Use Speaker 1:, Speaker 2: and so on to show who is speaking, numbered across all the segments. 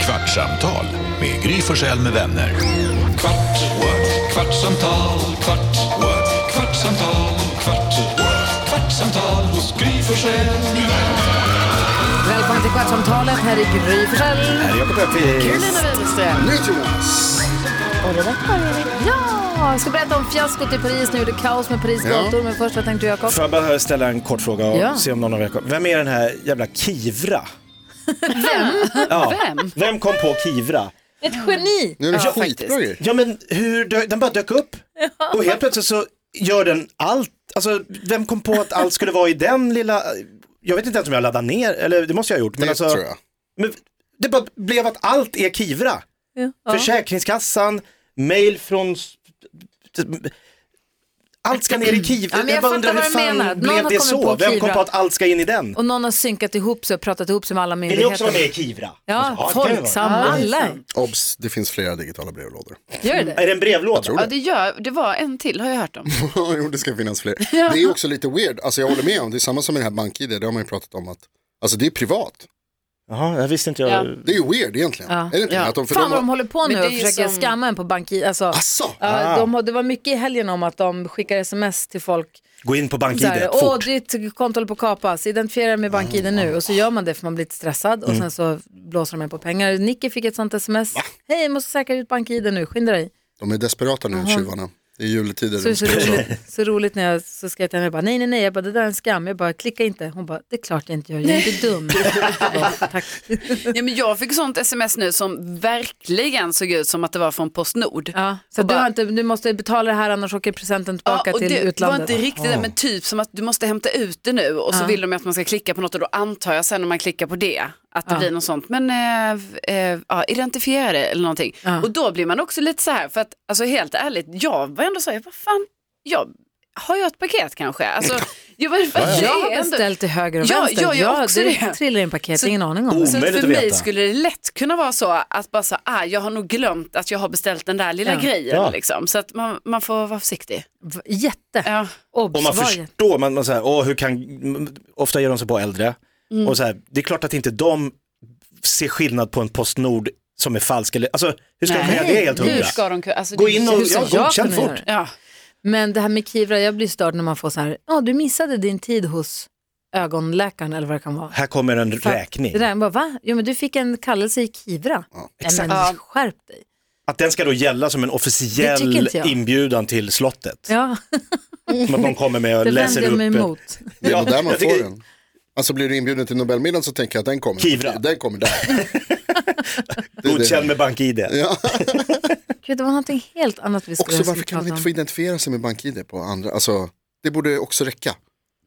Speaker 1: Kvartsamtal med Gry Forssell med vänner.
Speaker 2: Kvart, what? kvartsamtal, kvart, what? kvartsamtal, kvart, what? kvartsamtal hos Gry Forssell med vänner.
Speaker 3: Välkommen till Kvartsamtalet. Här är Gry Forssell. Här är Jakob Öqvist. Carolina Widerström. Och Rebecka Ja, jag ska berätta om fiaskot i Paris. Nu är det kaos med Paris gator. Men först vad tänkte du Jakob?
Speaker 4: Får jag bara ställa en kort fråga och
Speaker 3: Ja.
Speaker 4: se om någon av er kommer. Vem är den här jävla Kivra? Vem? Ja. Vem? Vem kom på Kivra?
Speaker 5: Ett geni!
Speaker 6: Nu är det
Speaker 3: Ja,
Speaker 6: skitbra
Speaker 3: faktiskt.
Speaker 6: ju.
Speaker 4: Ja men hur, dö- den bara dök upp och helt plötsligt så gör den allt, alltså vem kom på att allt skulle vara i den lilla, jag vet inte ens om jag laddade ner, eller det måste jag ha gjort. Men
Speaker 6: Det
Speaker 4: alltså,
Speaker 6: tror jag.
Speaker 4: Men det bara blev att allt är Kivra. Försäkringskassan, mail från... s- Allt ska ner i Kivra.
Speaker 3: Ja, men jag
Speaker 4: bara
Speaker 3: fattar
Speaker 4: undrar hur
Speaker 3: vad du
Speaker 4: fan
Speaker 3: menar. Någon har
Speaker 4: blev det
Speaker 3: kommit på
Speaker 4: så? Vem kom
Speaker 3: Kivra.
Speaker 4: på att allt ska in i den?
Speaker 5: Och någon har synkat ihop sig och pratat ihop sig med alla
Speaker 4: Vill ni
Speaker 5: myndigheter.
Speaker 4: också vara med i Kivra?
Speaker 5: Ja,
Speaker 4: det kan det
Speaker 5: Folksam, alla.
Speaker 6: Obs, det finns flera digitala brevlådor.
Speaker 5: Gör
Speaker 4: vara. Är
Speaker 5: det?
Speaker 4: det en brevlåda?
Speaker 6: tror
Speaker 7: Ja, det, gör, det var en till har jag hört om.
Speaker 6: jo, det ska finnas fler. Det är också lite weird, alltså jag håller med om, det är samma som med det här bank-id, det har man ju pratat om att, alltså det är privat.
Speaker 4: Jaha, jag visste inte jag.
Speaker 7: Ja.
Speaker 6: Det är ju weird egentligen.
Speaker 5: Ja.
Speaker 6: Är det inte
Speaker 7: Ja.
Speaker 6: det? Att de, för
Speaker 3: Fan vad de
Speaker 6: har...
Speaker 3: håller på
Speaker 7: Men
Speaker 3: nu
Speaker 7: det är
Speaker 3: och
Speaker 7: ju
Speaker 3: försöker
Speaker 7: som-
Speaker 3: skamma en på bank-id. Alltså,
Speaker 6: Asså?
Speaker 3: ja, de, har- det var mycket i helgen om att de skickar sms till folk.
Speaker 4: Gå in på
Speaker 3: Så
Speaker 4: BankID
Speaker 3: här, Åh,
Speaker 4: fort.
Speaker 3: ditt konto håller på att kapas. Identifiera dig med BankID nu. Och så gör man det för man blir lite stressad. Och
Speaker 7: Mm.
Speaker 3: sen så blåser de en på pengar. Nicky fick ett sånt sms. Hej, jag måste säkra ut BankID nu. Skynda dig.
Speaker 6: De är desperata nu, tjuvarna. Det är juletider.
Speaker 3: Så, så,
Speaker 7: Mm.
Speaker 3: roligt, så roligt när jag så skrev till henne, jag bara, nej nej nej, jag bara, det där är en skam, jag bara, klicka inte. Hon bara, det är klart jag inte gör, jag är inte dum. Jag bara, Tack.
Speaker 7: Ja, men jag fick sånt sms nu som verkligen såg ut som att det var från Postnord.
Speaker 3: Ja, så
Speaker 7: Och
Speaker 3: du,
Speaker 7: bara-
Speaker 3: har inte, du måste betala det här annars åker presenten tillbaka
Speaker 7: och
Speaker 3: till
Speaker 7: det var
Speaker 3: utlandet.
Speaker 7: inte riktigt det, men typ som att du måste hämta ut det nu och så vill de ju att man ska klicka på något och då antar jag sen när man klickar på det att det blir något sånt. Men eh, eh, ja, identifiera det eller någonting. Och då blir man också lite så här, för att alltså helt ärligt, jag var ändå så här, vad fan, jag, har jag ett paket kanske? Alltså, jag, var,
Speaker 3: Jag
Speaker 7: det
Speaker 3: har
Speaker 7: är ändå-
Speaker 3: beställt till höger och
Speaker 7: Ja,
Speaker 3: vänster.
Speaker 7: ja, jag har också
Speaker 3: det
Speaker 7: det.
Speaker 3: trillar in paket,
Speaker 7: Så-
Speaker 3: ingen aning om
Speaker 4: Oh.
Speaker 3: det.
Speaker 7: Så att
Speaker 4: Omöjligt
Speaker 7: Alltså, för
Speaker 4: att
Speaker 7: mig
Speaker 4: veta.
Speaker 7: skulle det lätt kunna vara så att bara så, ah, jag har nog glömt att jag har beställt den där lilla
Speaker 3: Ja.
Speaker 7: grejen.
Speaker 4: Ja.
Speaker 7: Liksom. Så att man, man får vara försiktig.
Speaker 3: V- Jätte.
Speaker 7: Ja.
Speaker 3: Obs,
Speaker 4: Och man
Speaker 3: var jätte.
Speaker 4: förstår, man, man så här, åh, hur kan, m- ofta ger de sig på äldre.
Speaker 3: Mm.
Speaker 4: Och så här, det är klart att inte de ser skillnad på en Postnord som är falsk. Eller, alltså, hur ska de
Speaker 7: Nej,
Speaker 4: göra det helt
Speaker 7: Hur
Speaker 4: hundra?
Speaker 7: ska de kunna? Alltså,
Speaker 4: Gå
Speaker 7: det är
Speaker 4: in
Speaker 7: ju-
Speaker 4: och
Speaker 3: Hur ska
Speaker 4: ja,
Speaker 3: jag
Speaker 4: godkänn
Speaker 3: kunna
Speaker 4: fort.
Speaker 3: göra
Speaker 7: Ja.
Speaker 3: Men det här med Kivra, jag blir störd när man får så här, ja du missade din tid hos ögonläkaren eller vad det kan vara.
Speaker 4: Här kommer en
Speaker 3: För att
Speaker 4: räkning.
Speaker 3: Det där, man bara, va? Jo men du fick en kallelse i Kivra. Nej, men
Speaker 7: Ja.
Speaker 3: skärp dig.
Speaker 4: Att den ska då gälla som en
Speaker 3: Det tycker
Speaker 4: officiell
Speaker 3: inte jag.
Speaker 4: inbjudan till slottet.
Speaker 3: Ja,
Speaker 4: Som att någon kommer med och
Speaker 3: det
Speaker 4: läser
Speaker 3: vänder
Speaker 4: upp.
Speaker 3: jag mig
Speaker 4: ett-
Speaker 3: emot.
Speaker 6: Det är
Speaker 4: Ja,
Speaker 6: nog där man
Speaker 4: jag tycker-
Speaker 6: får den. Alltså blir du inbjuden till Nobelmiddagen så tänker jag att den kommer.
Speaker 4: Kivra.
Speaker 6: Den kommer där. Det är det.
Speaker 4: Godkänd med BankID.
Speaker 6: Ja.
Speaker 3: Gud, det var någonting helt annat vi skulle
Speaker 6: Också varför
Speaker 3: skulle
Speaker 6: kan man
Speaker 3: prata
Speaker 6: inte
Speaker 3: om.
Speaker 6: få identifiera sig med bank-id på andra? Alltså, det borde också räcka.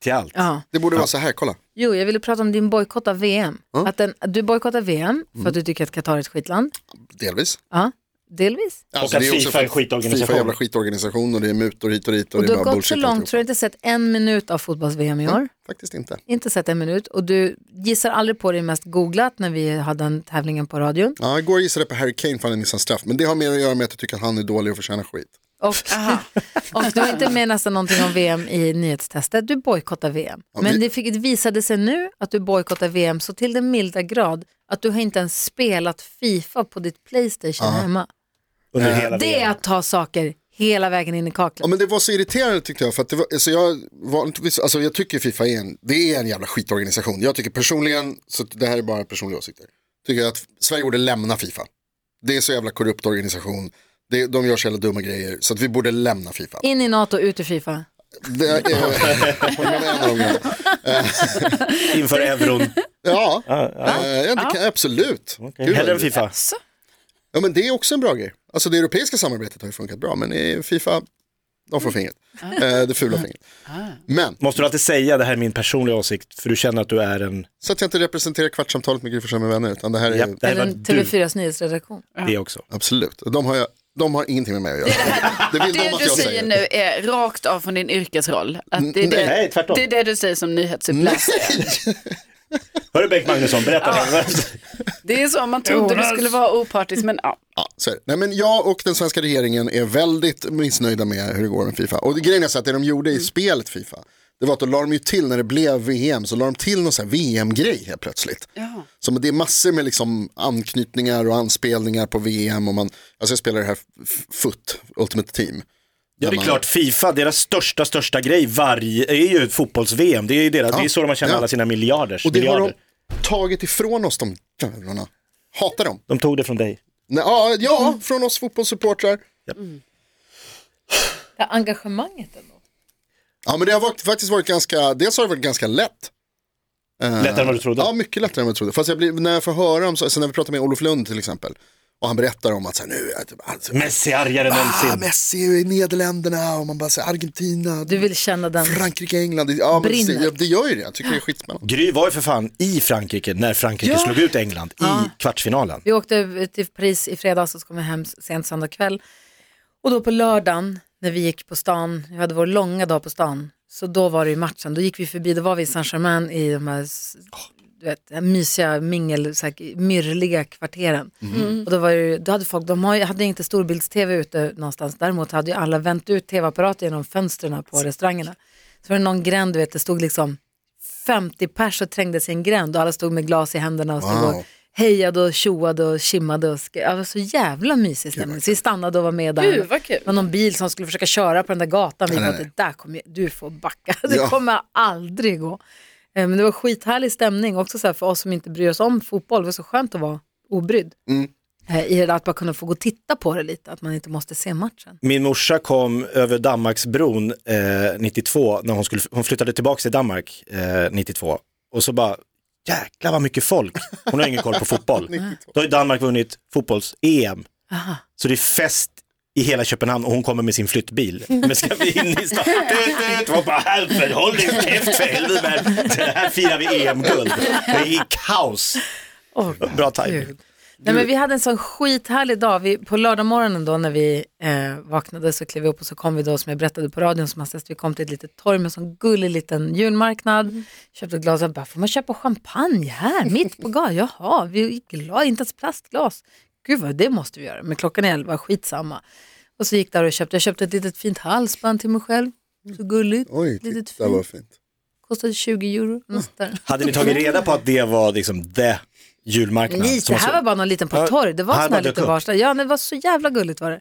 Speaker 4: Till allt.
Speaker 3: Ja.
Speaker 6: Det borde vara så här, kolla.
Speaker 3: Jo, jag ville prata om din bojkott av VM. Att den, du bojkottar VM
Speaker 6: Mm.
Speaker 3: för att du tycker att Qatar är ett skitland.
Speaker 6: Delvis.
Speaker 3: Ja, delvis.
Speaker 6: Alltså,
Speaker 4: att
Speaker 6: det också
Speaker 4: FIFA är
Speaker 6: för
Speaker 4: en
Speaker 6: att
Speaker 4: skitorganisation.
Speaker 6: FIFA är en jävla skitorganisation och det är mutor hit och dit. Och,
Speaker 3: Och
Speaker 6: det
Speaker 3: du
Speaker 6: är
Speaker 3: har
Speaker 6: bara
Speaker 3: gått
Speaker 6: bullshit
Speaker 3: så långt
Speaker 6: alltihop.
Speaker 3: så du har inte sett en minut av fotbolls-VM i år.
Speaker 6: Faktiskt inte.
Speaker 3: Inte sett en minut. Och du gissar aldrig på det mest googlat när vi hade den tävlingen på radion.
Speaker 6: Ja, igår gissade jag på Harry Kane för han missade en straff. Men det har mer att göra med att jag tycker att han är dålig och förtjänar skit.
Speaker 3: Och, och du har inte med nästan någonting om VM i nyhetstestet. Du bojkottar VM.
Speaker 6: Ja,
Speaker 3: Men
Speaker 6: vi-
Speaker 3: det, fick, det visade sig nu att du bojkottar VM så till den milda grad att du har inte ens spelat Fifa på ditt Playstation hemma.
Speaker 4: Under hela
Speaker 3: Det är att ta saker hela vägen in i
Speaker 6: Ja,
Speaker 3: kaklet.
Speaker 6: men det var så irriterande tyckte jag. För att det var, alltså jag, vanligtvis, alltså jag tycker Fifa är en, det är en jävla skitorganisation. Jag tycker personligen, så att det här är bara personliga åsikter, tycker jag att Sverige borde lämna Fifa. Det är så jävla korrupt organisation. Det, de gör så jävla dumma grejer. Så att vi borde lämna Fifa.
Speaker 3: In i NATO, ut ur Fifa.
Speaker 6: Det är, det var en av de grejerna.
Speaker 3: alltså-
Speaker 4: Inför euron.
Speaker 6: ja, eh, ja, det kan, absolut. Gud,
Speaker 4: Hellre än
Speaker 6: vad-
Speaker 4: Fifa.
Speaker 6: Ja men det är också en bra grej. Alltså det europeiska samarbetet har ju funkat bra men i Fifa, de får fingret. Eh, det fula fingret. Men,
Speaker 4: Måste du alltid säga det här är min personliga åsikt för du känner att du är en,
Speaker 6: så att jag inte representerar kvartssamtalet med Gry Forssell med vänner utan det här är
Speaker 4: ja, det här var
Speaker 3: Eller
Speaker 4: du,
Speaker 3: TV4s nyhetsredaktion.
Speaker 4: det också.
Speaker 6: absolut, de har, jag, de har ingenting med mig att göra. Det, vill de
Speaker 7: Det
Speaker 6: att
Speaker 7: du
Speaker 6: jag
Speaker 7: säger
Speaker 6: säger.
Speaker 7: nu är rakt av från din yrkesroll. Att det, är det,
Speaker 4: Nej, tvärtom.
Speaker 7: det är det du säger som nyhetsuppläsare.
Speaker 4: Hörru Bengt Magnusson, berätta.
Speaker 7: Det är så, man trodde du skulle vara opartisk men ja.
Speaker 6: Ja, så är det. Nej, men jag och den svenska regeringen är väldigt missnöjda med hur det går med Fifa. Och grejen är så att det de gjorde i spelet Fifa det var att då la de ju till när det blev VM, så la de till någon sån här VM-grej helt plötsligt.
Speaker 7: Ja.
Speaker 6: Så men det är massor med liksom anknytningar och anspelningar på VM och man, alltså jag spelar det här f- FUT, Ultimate Team.
Speaker 4: Ja det är klart, Fifa, deras största, största grej varje, är ju ett fotbolls-VM. Det är ju deras,
Speaker 6: Ja.
Speaker 4: det är så de tjänar
Speaker 6: Ja.
Speaker 4: alla sina miljarders.
Speaker 6: Och det har
Speaker 4: miljarder.
Speaker 6: de tagit ifrån oss, de jävlarna. Hatar dem.
Speaker 4: de tog det från dig.
Speaker 6: Nej, ja, ja från oss fotbollssupportrar.
Speaker 3: Det här engagemanget ändå.
Speaker 6: Ja, men det har varit, faktiskt varit ganska, dels har det varit ganska lätt. Eh,
Speaker 4: Lättare än vad du trodde.
Speaker 6: Ja, mycket lättare än vad jag trodde. Fast jag blir, när jag får höra om, så, alltså när vi pratar med Olof Lund till exempel, och han berättar om att så här, nu, är det- alltså,
Speaker 3: Mm,
Speaker 4: Messi argare än
Speaker 6: ah,
Speaker 4: någonsin.
Speaker 6: Messi i Nederländerna och man bara säger Argentina,
Speaker 3: Du vill känna den.
Speaker 6: Frankrike, England. Det- Ja, men det,
Speaker 3: Brinner.
Speaker 6: ja, det gör ju det, jag tycker det är skitspännande.
Speaker 4: Gry var ju för fan i Frankrike när Frankrike slog ut England i kvartsfinalen.
Speaker 3: Vi åkte till Paris i fredags och så kom vi hem sent söndag kväll. Och då på lördagen när vi gick på stan, vi hade vår långa dag på stan, så då var det ju matchen. Då gick vi förbi, då var vi i Saint-Germain i de här s- du vet, mysiga, mingel, så här, myrliga kvarteren. Och då, var det, ju- då hade folk, de har, ju- hade inte storbilds-tv ute någonstans, däremot hade ju alla vänt ut tv-apparater genom fönstren på restaurangerna. Så var det någon gränd, du vet, det stod liksom 50 pers och trängdes i en gränd och alla stod med glas i händerna och stod
Speaker 6: Wow.
Speaker 3: och hejade och tjoade och kimmade. Och sk- ja, det var så jävla mysig stämning. Så vi stannade och var med där.
Speaker 7: Gud, vad kul.
Speaker 3: Det var någon bil som skulle försöka köra på den där gatan. Vi
Speaker 6: Nej,
Speaker 3: bara,
Speaker 6: nej, nej.
Speaker 3: det där kommer jag, du får backa. Det
Speaker 6: Ja.
Speaker 3: kommer aldrig gå. Eh, Men det var skithärlig stämning också så här, för oss som inte bryr oss om fotboll. Det var så skönt att vara obrydd.
Speaker 6: Mm.
Speaker 3: Eh, I det där att bara kunna få gå och titta på det lite, att man inte måste se matchen.
Speaker 4: Min morsa kom över Danmarksbron eh, 92, när hon, skulle, hon flyttade tillbaka till Danmark eh, 92. Och så bara, jäklar vad mycket folk. Hon har ingen koll på fotboll. Då har ju Danmark vunnit fotbolls-EM. Så det är fest i hela Köpenhamn och hon kommer med sin flyttbil. Men ska vi in i stan? Tut, tut. Hon bara, Alfred håll din käft för helvete. men Det här firar vi EM-guld. Det är i kaos.
Speaker 3: Åh,
Speaker 4: Bra timing.
Speaker 3: Gud. Nej, men vi hade en sån skithärlig dag. Vi, på lördag morgonen då när vi eh, vaknade så klev vi upp och så kom vi då som jag berättade på radion som hastigast. Vi kom till ett litet torg med en sån gullig liten julmarknad.
Speaker 6: Mm.
Speaker 3: Köpte ett glas och bara, får man köpa champagne här mitt på gatan? Jaha, vi glas, inte ens plastglas. Gud vad, det måste vi göra. Men klockan är elva, skitsamma. Och så gick där och köpte, jag köpte ett litet fint halsband till mig själv. Så gulligt,
Speaker 6: Oj,
Speaker 3: litet
Speaker 6: titta
Speaker 3: fint.
Speaker 6: vad Mm. fint.
Speaker 3: Kostade 20 euro. något sånt där.
Speaker 4: Hade ni tagit reda på att det var liksom the julmarknad?
Speaker 3: Nej,
Speaker 4: som
Speaker 3: det
Speaker 4: man
Speaker 3: här
Speaker 4: såg?
Speaker 3: var bara någon liten på
Speaker 4: Ja,
Speaker 3: torg. Det var
Speaker 4: här
Speaker 3: sån här
Speaker 4: bara dök
Speaker 3: liten
Speaker 4: upp.
Speaker 3: varstad. Ja, det var så jävla gulligt var det.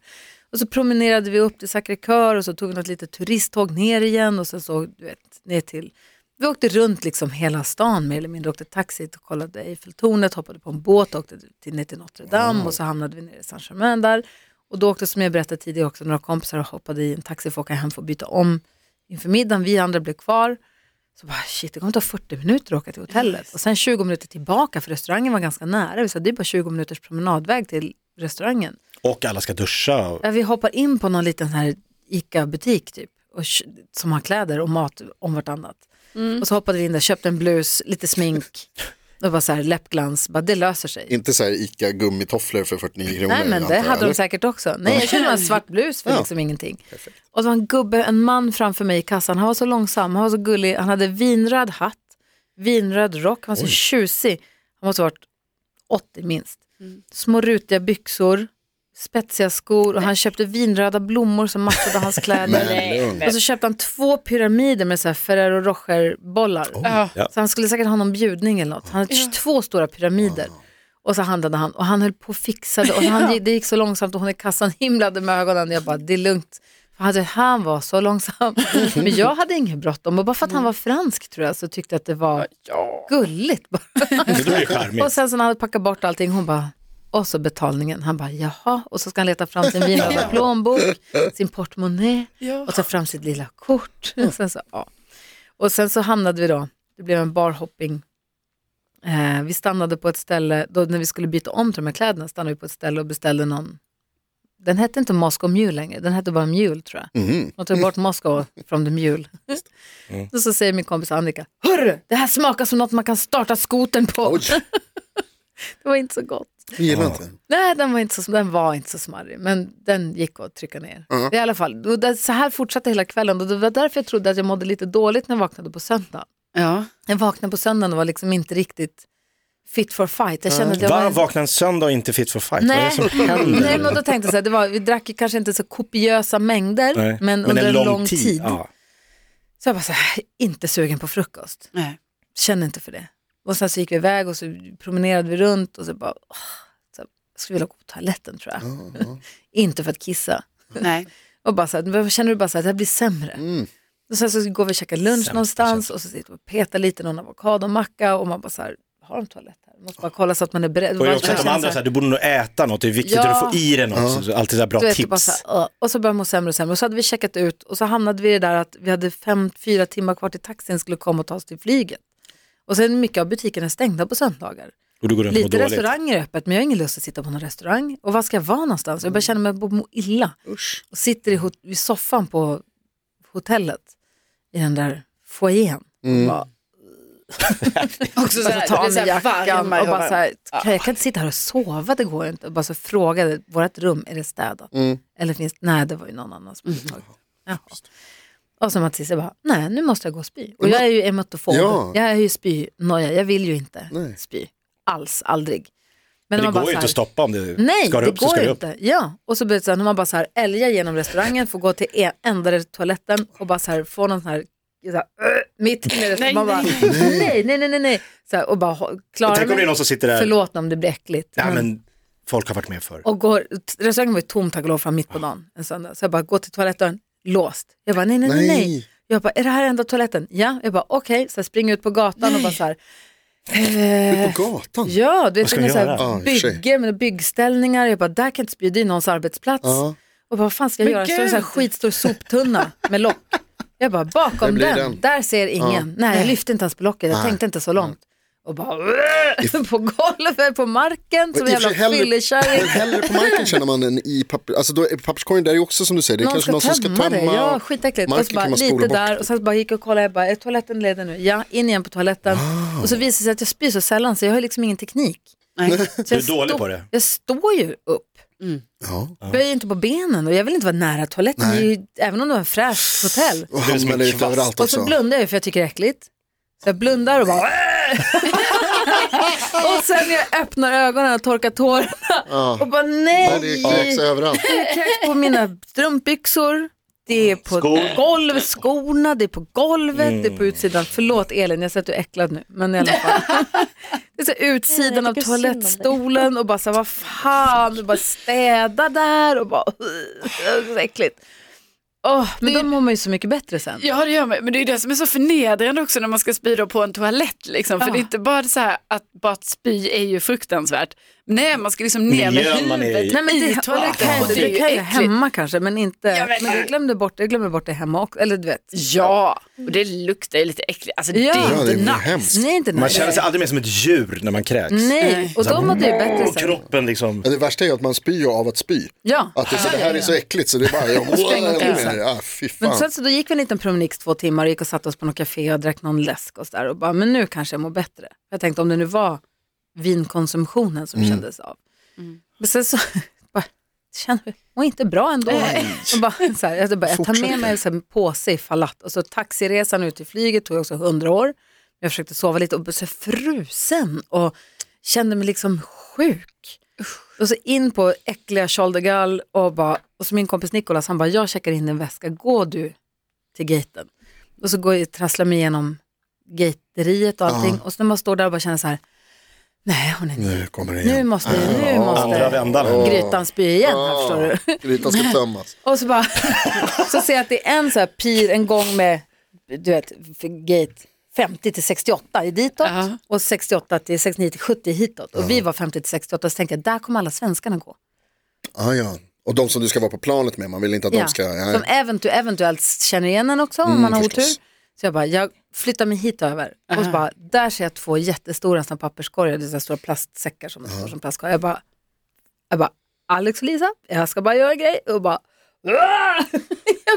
Speaker 3: Och så promenerade vi upp till Sacré Coeur och så tog vi något litet turisttåg ner igen och sen så, du vet, ner till. Vi åkte runt liksom hela stan mer eller mindre, åkte taxi och kollade Eiffeltornet, hoppade på en båt, åkte till, ner till Notre Dame och så hamnade vi nere i Saint-Germain där. Och då åkte, som jag berättade tidigare, också några kompisar och hoppade i en taxi för att åka hem för att byta om inför middagen. Vi andra blev kvar. Så bara, shit, det kommer ta 40 minuter att åka till hotellet. Och sen 20 minuter tillbaka, för restaurangen var ganska nära. Vi sa, det är bara 20 minuters promenadväg till restaurangen.
Speaker 4: Och alla ska duscha. Och...
Speaker 3: Ja, vi hoppar in på någon liten sån här ICA-butik typ, och, kö- som har kläder och mat om vartannat. Och så hoppade vi in där, köpte en blus, lite smink och bara så här läppglans, bara det löser sig.
Speaker 6: Inte så här Ica gummitofflor för 49 kronor.
Speaker 3: Nej men
Speaker 6: antar
Speaker 3: det
Speaker 6: jag,
Speaker 3: hade
Speaker 6: eller?
Speaker 3: de säkert också. Nej jag köpte bara en svart blus för liksom ingenting. Och så var en gubbe, en man framför mig i kassan, han var så långsam, han var så gullig, han hade vinröd hatt, vinröd rock, han var så tjusig. Han måste ha varit 80 minst. Små rutiga byxor, spetsiga skor och han köpte vinröda blommor som matchade hans kläder.
Speaker 6: Men,
Speaker 3: Och så köpte han två pyramider med så här Ferrero Rocher-bollar.
Speaker 4: Ja.
Speaker 3: Så han skulle säkert ha någon bjudning eller något. Han hade två stora pyramider.
Speaker 6: Ah.
Speaker 3: Och så handlade han och han höll på och fixade och han, det gick så långsamt och hon i kassan himlade med ögonen. Jag bara, det är lugnt. För han, han var så långsam. Men jag hade inget bråttom och bara för att han var fransk tror jag så tyckte jag att det var gulligt. bara.
Speaker 4: Det blir ju charmigt.
Speaker 3: Och sen så när han hade packat bort allting, hon bara, och så betalningen. Han bara, jaha. Och så ska han leta fram sin vinröda plånbok, sin portmonnä och ta fram sitt lilla kort. Och sen så, ja. och sen så hamnade vi då, det blev en barhopping. Eh, vi stannade på ett ställe, då när vi skulle byta om till de här kläderna, stannade vi på ett ställe och beställde någon, den hette inte Moscow Mule längre, den hette bara Mule tror jag. De tog bort Moskva från the mule. Och så säger min kompis Annika, hörru, det här smakar som något man kan starta skoten på. det var inte så gott.
Speaker 6: Jag gillar inte.
Speaker 3: Nej, den var inte så, den var inte så smarrig, men den gick att trycka ner. I alla fall, då- det- så här fortsatte hela kvällen och det var därför jag trodde att jag mådde lite dåligt när jag vaknade på söndag.
Speaker 7: Ja.
Speaker 3: Jag vaknade på söndagen och var liksom inte riktigt fit for fight. Jag kände att jag var...
Speaker 4: Varför vaknar en söndag och inte fit for fight? Vad är det
Speaker 3: Nej,
Speaker 4: som händer?
Speaker 3: Nej men då tänkte jag så här, det var, vi drack ju kanske inte så kopiösa mängder,
Speaker 4: Nej.
Speaker 3: men, under en lång tid.
Speaker 4: Ja.
Speaker 3: Så jag bara så här, inte sugen på frukost.
Speaker 7: Nej.
Speaker 3: Känner inte för det. Och sen så gick vi iväg och så promenerade vi runt och så bara, åh, så här, jag skulle vilja gå på toaletten tror jag. inte för att kissa.
Speaker 7: Nej.
Speaker 3: Och bara så här, då känner du bara så här, det här blir sämre.
Speaker 4: Mm.
Speaker 3: Och sen så går vi och käkar lunch någonstans och så sitter vi och petar lite någon avokadomacka och man bara så här, har de toalett här? Måste bara kolla så att man är beredd.
Speaker 4: Och det
Speaker 3: Man
Speaker 4: är också att de
Speaker 3: känner
Speaker 4: andra,
Speaker 3: så
Speaker 4: så
Speaker 3: här-
Speaker 4: här, du borde nog äta något, det är viktigt
Speaker 3: Ja.
Speaker 4: att du får i dig något. Så, så, alltid så här bra
Speaker 3: du vet,
Speaker 4: tips.
Speaker 3: Bara så här, "Åh." och så började jag må sämre och sämre. Och så hade vi checkat ut och så hamnade vi i det där att vi hade fem, fyra timmar kvar till taxin skulle komma och ta oss till flyget. Och sen mycket av butikerna är stängda på söndagar.
Speaker 4: och du går runt och
Speaker 3: Lite
Speaker 4: mår dåligt.
Speaker 3: restauranger är öppet men jag har ingen lust att sitta på någon restaurang. Och var ska jag vara någonstans? Jag börjar känna mig att jag må illa. Och sitter i, hot- i soffan på hotellet i den där foajén. Och bara,
Speaker 7: Också
Speaker 3: Alltså,
Speaker 7: så här,
Speaker 3: ta av
Speaker 7: det
Speaker 3: mig
Speaker 7: är så här
Speaker 3: jackan
Speaker 7: varma
Speaker 3: och bara
Speaker 7: ögon.
Speaker 3: så här, kan, jag kan inte sitta här och sova, det går inte. Och bara så frågade, vårt rum, är det städat? Eller finns nej det var ju någon annans som hade tagit. Jaha. Och så Mattias jag bara, nej nu måste jag gå och spy. Och jag är ju emetofob,
Speaker 6: Ja.
Speaker 3: jag är ju spynoja, jag vill ju inte
Speaker 6: Nej.
Speaker 3: spy. Alls, aldrig. Men,
Speaker 4: Men
Speaker 3: man bara
Speaker 4: det går
Speaker 3: så
Speaker 4: ju inte
Speaker 3: här-
Speaker 4: att stoppa om det
Speaker 3: Nej,
Speaker 4: ska
Speaker 3: det
Speaker 4: upp så ska
Speaker 3: går
Speaker 4: det upp.
Speaker 3: inte. Ja, och så blir det så här, när man bara så här älgar genom restaurangen, får gå till en- enda toaletten och bara så här få någon sån här, så här "Åh", mitt inne i restaurangen. Man bara, nej, nej, nej, nej, nej. Så här, och bara "Hå-
Speaker 4: Och
Speaker 3: klara
Speaker 4: Tänk om det är någon som sitter där,
Speaker 3: Förlåt om det blir äckligt.
Speaker 4: nej
Speaker 3: men-
Speaker 4: men folk har varit med förr.
Speaker 3: Och går, restaurangen var ju tom tack och lov fram mitt på dagen en söndag. Så jag bara, gå till toaletten, låst. Jag bara, nej, nej, nej, nej.
Speaker 6: Nej.
Speaker 3: Jag bara, är det här enda toaletten? Ja, jag bara, okej. Så jag springer ut på gatan och bara så här, eh,
Speaker 6: På gatan?
Speaker 3: Ja, du vet,
Speaker 4: ska
Speaker 3: det är
Speaker 4: jag
Speaker 3: så
Speaker 4: göra?
Speaker 6: Ja,
Speaker 3: här
Speaker 6: i och för sig.
Speaker 3: bygge, med byggställningar. Jag bara, där kan jag inte spjuda i någons arbetsplats.
Speaker 6: Ja.
Speaker 3: Och vad fan ska jag göra? Så är det en sån här skitstor soptunna med lock. Jag bara,
Speaker 6: Där
Speaker 3: bakom
Speaker 6: blir
Speaker 3: den,
Speaker 6: den.
Speaker 3: där ser ingen. Nej, jag lyfte inte ens på locket, jag tänkte inte så långt. Och bara "Äh!" på golvet, på marken, som en
Speaker 6: i och för
Speaker 3: jävla
Speaker 6: sig hellre- Men
Speaker 3: fyllekärring.
Speaker 6: hellre på marken känner man än i papper, alltså då är papperskorgen där är ju också som du säger, det är
Speaker 3: Någon
Speaker 6: kanske
Speaker 3: ska,
Speaker 6: någon som ska
Speaker 3: tömma
Speaker 6: tömma.
Speaker 3: det, ja
Speaker 6: och
Speaker 3: skitäckligt. Och
Speaker 6: marken
Speaker 3: så bara,
Speaker 6: kan man spola
Speaker 3: lite
Speaker 6: bort.
Speaker 3: där och sen så bara gick jag och kollade, jag bara, är toaletten ledig nu? Ja, in igen på toaletten. Och så visade det sig att jag spyr så sällan så jag har liksom ingen teknik.
Speaker 7: Nej.
Speaker 3: Så
Speaker 4: Du är
Speaker 3: jag
Speaker 4: dålig
Speaker 3: stod-
Speaker 4: på det.
Speaker 3: Jag står ju upp.
Speaker 6: Ja.
Speaker 3: Böjer inte på benen och jag vill inte vara nära toaletten, det är ju, även om det var en fräscht hotell.
Speaker 6: Och
Speaker 4: Det är som
Speaker 6: hamnar
Speaker 4: en
Speaker 6: lite
Speaker 4: kvast.
Speaker 6: överallt
Speaker 3: Och så
Speaker 6: också.
Speaker 3: blundar jag ju för jag tycker det är äckligt. Så jag blundar och bara... och sen när jag öppnar ögonen och torkar tårarna och bara nej,
Speaker 6: Ja, det är kräks överallt.
Speaker 3: kräks på mina strumpbyxor. Det är på golv, skorna, det är på golvet, det är på utsidan. Förlåt Elin, jag ser att du är äcklad nu. Men i alla fall. Det är så här utsidan av toalettstolen och bara så här, vad fan, du bara städa där och bara, så äckligt. Åh, men då mår man ju så mycket bättre sen.
Speaker 7: Ja det gör man, men det är ju det som är så förnedrande också när man ska spy då på en toalett. Liksom. För
Speaker 3: Ja.
Speaker 7: det är inte bara så här att bara att spy är ju fruktansvärt. Nej man ska liksom ner med
Speaker 4: Miljön man är i.
Speaker 7: huvudet
Speaker 3: Nej men det,
Speaker 7: i
Speaker 3: kan
Speaker 7: toaletten
Speaker 3: jag
Speaker 7: och
Speaker 3: inte.
Speaker 7: det är
Speaker 3: Det
Speaker 7: ju
Speaker 3: kan jag
Speaker 7: äckligt.
Speaker 3: hemma kanske men inte,
Speaker 7: Jag vet
Speaker 3: men jag
Speaker 7: inte.
Speaker 3: glömde bort, jag glömmer bort det hemma också, eller du vet.
Speaker 7: Ja, och det luktar ju lite äckligt. Alltså
Speaker 3: Ja.
Speaker 7: det
Speaker 3: Ja,
Speaker 6: det
Speaker 7: är inte
Speaker 6: är väl
Speaker 7: nice.
Speaker 6: hemskt.
Speaker 3: Nej inte
Speaker 4: Man
Speaker 3: nej.
Speaker 4: känner sig aldrig mer som ett djur när man kräks.
Speaker 3: Nej, och då mådde jag ju bättre
Speaker 4: Och
Speaker 3: sen.
Speaker 4: kroppen liksom,
Speaker 6: Ja, det värsta är ju att man spyr ju av att spy.
Speaker 3: Ja.
Speaker 6: Att det, så det här är så äckligt så det är bara, jag
Speaker 3: Spräng och kissa.
Speaker 6: mår ja, ah, fy
Speaker 3: Men
Speaker 6: fan.
Speaker 3: sen så då gick vi en liten promenix två timmar och gick och satte oss på något café och drack någon läsk och så där och bara, men nu kanske jag mår bättre. Jag tänkte om det nu var vinkonsumtionen som kändes av. Men sen så, bara, känner jag mår inte bra ändå. Och bara, så här, jag, bara, jag tar med mig så här en påse i fallat och så taxiresan ut till flyget tog också hundra år. Jag försökte sova lite och blev så frusen och kände mig liksom sjuk. Och så in på äckliga Charles de Gaulle och bara, och så min kompis Nikolas han bara, jag checkar in en väska, gå du till gaten. Och så går jag, trasslar mig igenom gateriet och allting och så när man står där och bara känner så här, nej hon är
Speaker 6: Nu kommer det
Speaker 3: nu
Speaker 6: igen.
Speaker 3: måste, nu
Speaker 4: andra
Speaker 3: måste
Speaker 4: vändan.
Speaker 3: grytan spy igen här förstår du.
Speaker 6: Grytan ska tömmas.
Speaker 3: Och så bara, så ser jag att det är en så här pir, en gång med, du vet, för gate 50 till 68 i ditåt
Speaker 7: Ja.
Speaker 3: och 68 till 69 till 70 hitåt. Och vi var 50 till 68 så tänkte jag, där kommer alla svenskarna gå.
Speaker 6: Ja, Ah, ja. Och de som du ska vara på planet med, man vill inte att de ska...
Speaker 3: Som
Speaker 6: Ja. Mm,
Speaker 3: eventu- eventuellt känner igen en också om man har
Speaker 6: förstås.
Speaker 3: otur. Så jag bara, jag flyttar mig hit över. Och så bara, där ser jag två jättestora såna papperskorgar, det är så här stora plastsäckar som står som plastkorgar. Jag bara, jag bara, Alex och Lisa, jag ska bara göra en grej och bara,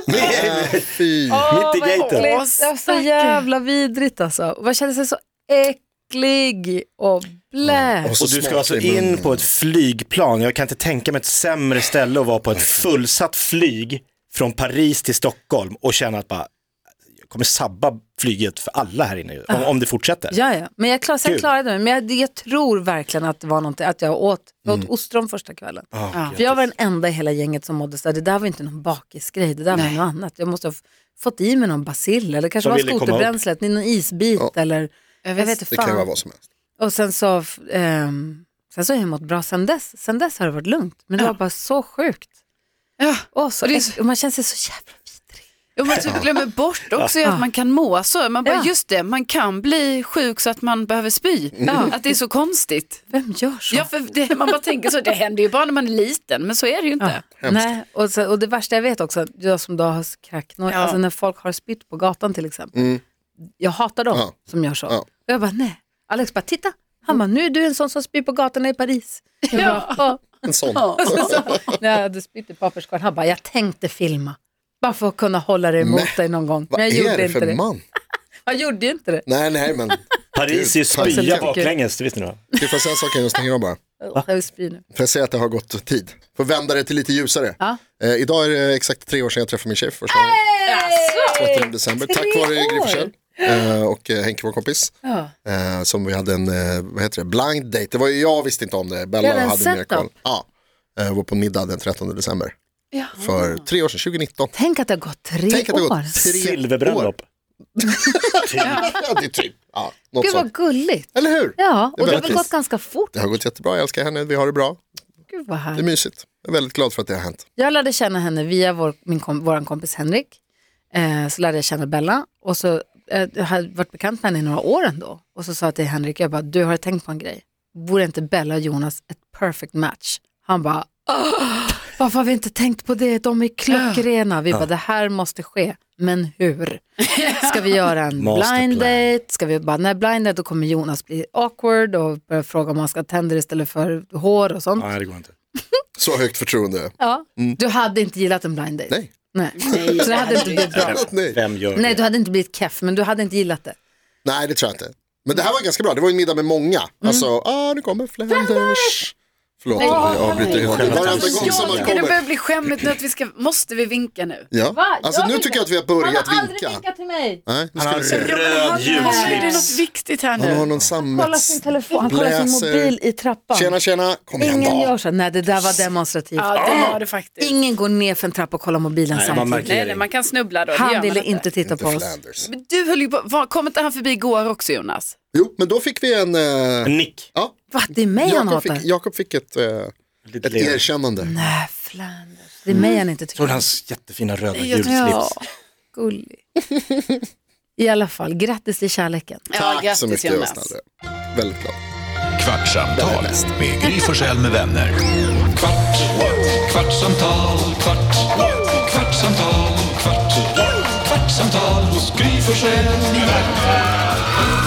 Speaker 6: Nej, fy.
Speaker 3: Åh,
Speaker 4: Mitt i
Speaker 3: vad
Speaker 4: gaten.
Speaker 3: äckligt. Det var så jävla vidrigt alltså. Och man kände sig så äcklig och blä.
Speaker 6: så
Speaker 4: Och du ska
Speaker 6: smakar
Speaker 4: alltså
Speaker 6: det i munnen.
Speaker 4: in på ett flygplan. Jag kan inte tänka mig ett sämre ställe att vara på ett fullsatt flyg från Paris till Stockholm och känna att bara, jag kommer sabba flyget för alla här inne ju, om, om det fortsätter.
Speaker 3: Ja, ja. Men jag, klar, sen
Speaker 4: Kul.
Speaker 3: klarade jag mig. Men jag, jag tror verkligen att det var någonting, att jag åt, jag
Speaker 6: Mm.
Speaker 3: åt ostron första kvällen.
Speaker 4: Ah,
Speaker 3: För jag var den enda i hela gänget som mådde så här, det där var inte någon bakisgrej, det där var något annat. Jag måste ha f- fått i mig någon bacill eller kanske
Speaker 4: De
Speaker 3: var
Speaker 4: ville komma
Speaker 3: skoterbränslet, någon isbit
Speaker 6: Ja.
Speaker 3: eller jag vet inte
Speaker 6: Det kan ju vara
Speaker 3: fan.
Speaker 6: vad som helst.
Speaker 3: Och sen så, ehm, sen så har jag mått bra sen dess. Sen dess har det varit lugnt. Men det var bara så sjukt.
Speaker 7: Ja.
Speaker 3: Åh, så
Speaker 7: Och det är
Speaker 3: äck- och man känner sig så jävla vidrig.
Speaker 7: Jo, man typ glömmer bort också att man kan må så. Man bara,
Speaker 3: Ja.
Speaker 7: just det, man kan bli sjuk så att man behöver spy. Att det är så konstigt.
Speaker 3: Vem gör så?
Speaker 7: Ja, för det, man bara tänker så, det händer ju bara när man är liten, men så är det ju inte.
Speaker 3: Ja. Nej, och, så, och det värsta jag vet också, jag som då har kräknor,
Speaker 7: Ja.
Speaker 3: alltså när folk har spytt på gatan till exempel. Jag hatar dem
Speaker 6: Mm. Ja.
Speaker 3: som gör så.
Speaker 6: Ja.
Speaker 3: Och jag bara, nej. Alex bara, titta. Han bara, nu är du en sån som spyr på gatorna i Paris. Jag bara, "Åh."
Speaker 6: En sån.
Speaker 3: när jag hade spytt i papperskorgen, han bara, jag tänkte filma. Bara för att kunna hålla det emot
Speaker 6: Nej.
Speaker 3: dig någon gång.
Speaker 6: Vad
Speaker 3: Men jag
Speaker 6: är
Speaker 3: gjorde
Speaker 6: det
Speaker 3: inte
Speaker 6: för
Speaker 3: det.
Speaker 6: man?
Speaker 3: Jag gjorde ju inte det.
Speaker 6: Nej, nej, men.
Speaker 4: Paris är ju
Speaker 6: Absolut.
Speaker 4: spya baklänges, det visste ni va?
Speaker 6: Du får jag säga en sak innan jag stänger av bara.
Speaker 3: Jag vill spy nu.
Speaker 6: Får jag säga att det har gått tid? Får vända det till lite ljusare. Eh, idag är det exakt tre år sedan jag träffade min tjej för första gången. 13 december. Tack
Speaker 3: Tre
Speaker 6: vare
Speaker 3: år.
Speaker 6: Gry Forssell, eh, och eh, Henke, vår kompis. Eh, som vi hade en, eh, vad heter det, blind date. Det var ju, jag visste inte om det. Bella
Speaker 3: Det är en
Speaker 6: hade mer
Speaker 3: setup.
Speaker 6: koll. Ja, eh, var på middag den 13 december. För tre år sedan, 2019.
Speaker 3: Tänk att det har gått tre
Speaker 6: Tänk att det har
Speaker 3: år.
Speaker 6: gått år.
Speaker 4: Silverbröllop.
Speaker 6: Ja, det är typ, ja, något
Speaker 3: Gud vad
Speaker 6: sånt.
Speaker 3: gulligt.
Speaker 6: Eller hur?
Speaker 3: Ja,
Speaker 6: Det är
Speaker 3: och det har
Speaker 6: väldigt
Speaker 3: väl gått
Speaker 6: trist.
Speaker 3: ganska fort.
Speaker 6: Det har gått jättebra, jag älskar henne, vi har det bra.
Speaker 3: Gud vad
Speaker 6: Det är
Speaker 3: härligt.
Speaker 6: mysigt. Jag är väldigt glad för att det har hänt.
Speaker 3: Jag lärde känna henne via vår, min kom, våran kompis Henrik. Eh, så lärde jag känna Bella och så eh, jag hade varit bekant med henne i några år ändå. Och så sa jag till Henrik, jag bara, du har jag tänkt på en grej. Vore inte Bella och Jonas ett perfect match? Han bara, "Åh, varför har vi inte tänkt på det? De är klockrena. Vi bara, det här måste ske. Men hur? Ska vi göra en
Speaker 4: Masterplan.
Speaker 3: blind date? Ska vi bara, när blind date då kommer Jonas bli awkward och börja fråga om han ska ha tänder istället för hår och sånt.
Speaker 4: Nej, det går inte.
Speaker 6: Så högt förtroende.
Speaker 3: Ja. Du hade inte gillat en blind date?
Speaker 6: Nej.
Speaker 3: Nej. Så det hade inte blivit bra.
Speaker 6: Nej.
Speaker 4: Vem gör
Speaker 3: Nej,
Speaker 4: det?
Speaker 3: du hade inte blivit keff, men du hade inte gillat det.
Speaker 6: Nej, det tror jag inte. Men det här var ganska bra. Det var ju en middag med många. Alltså, ah, nu kommer Flanders. Förlåt, jag avbryter hela tiden. Varenda gång som man
Speaker 7: Ja, det
Speaker 6: kommer.
Speaker 7: börjar bli skämmigt nu att vi ska, måste vi vinka nu?
Speaker 6: Ja. Alltså, nu tycker jag att vi har börjat vinka.
Speaker 3: till mig.
Speaker 6: Nej, nu
Speaker 4: Han
Speaker 6: ska
Speaker 4: har
Speaker 6: vi se.
Speaker 4: röd
Speaker 7: Är det
Speaker 4: ljuslips.
Speaker 7: något viktigt här
Speaker 6: Han har
Speaker 7: nu?
Speaker 6: någon
Speaker 3: Kolla
Speaker 6: sammets...
Speaker 3: sin telefon, han kollar sin
Speaker 6: Bläser.
Speaker 3: mobil i trappan.
Speaker 6: Tjena, tjena. Kom igen
Speaker 3: Ingen gör
Speaker 6: då.
Speaker 3: så. Nej, det där var demonstrativt.
Speaker 7: Ja, det var det faktiskt.
Speaker 3: Ingen går ner för en trappa och kollar mobilen
Speaker 4: Nej, det var en
Speaker 3: samtidigt.
Speaker 7: Nej, nej,
Speaker 4: markering.
Speaker 7: man kan snubbla då. det gör
Speaker 3: Han
Speaker 7: man
Speaker 3: ville inte titta
Speaker 6: Inte
Speaker 3: på oss.
Speaker 6: Flanders.
Speaker 7: Men du höll ju på, var, kom inte han förbi igår också Jonas?
Speaker 6: Jo, men då fick vi en... eh,
Speaker 4: Nick.
Speaker 6: Ja,
Speaker 3: Va, det är mig han
Speaker 6: Jakob
Speaker 3: hatar?
Speaker 6: fick, Jakob fick ett, eh, ett
Speaker 4: Lite leende.
Speaker 6: erkännande.
Speaker 3: Nej, Flanders. Det är mig han inte tycker
Speaker 4: Såg
Speaker 3: om.
Speaker 4: du hans jättefina röda
Speaker 7: jag tror-
Speaker 4: julslips?
Speaker 3: Gullig. I alla fall, grattis till kärleken.
Speaker 6: Tack så mycket, jag var snällare. Väldigt glad.
Speaker 1: Kvartsamtal med Gry Forssell med vänner.
Speaker 2: Kvart, what? kvartsamtal, kvart, what? kvartsamtal, kvart, what? kvartsamtal hos Gry Forssell med vänner.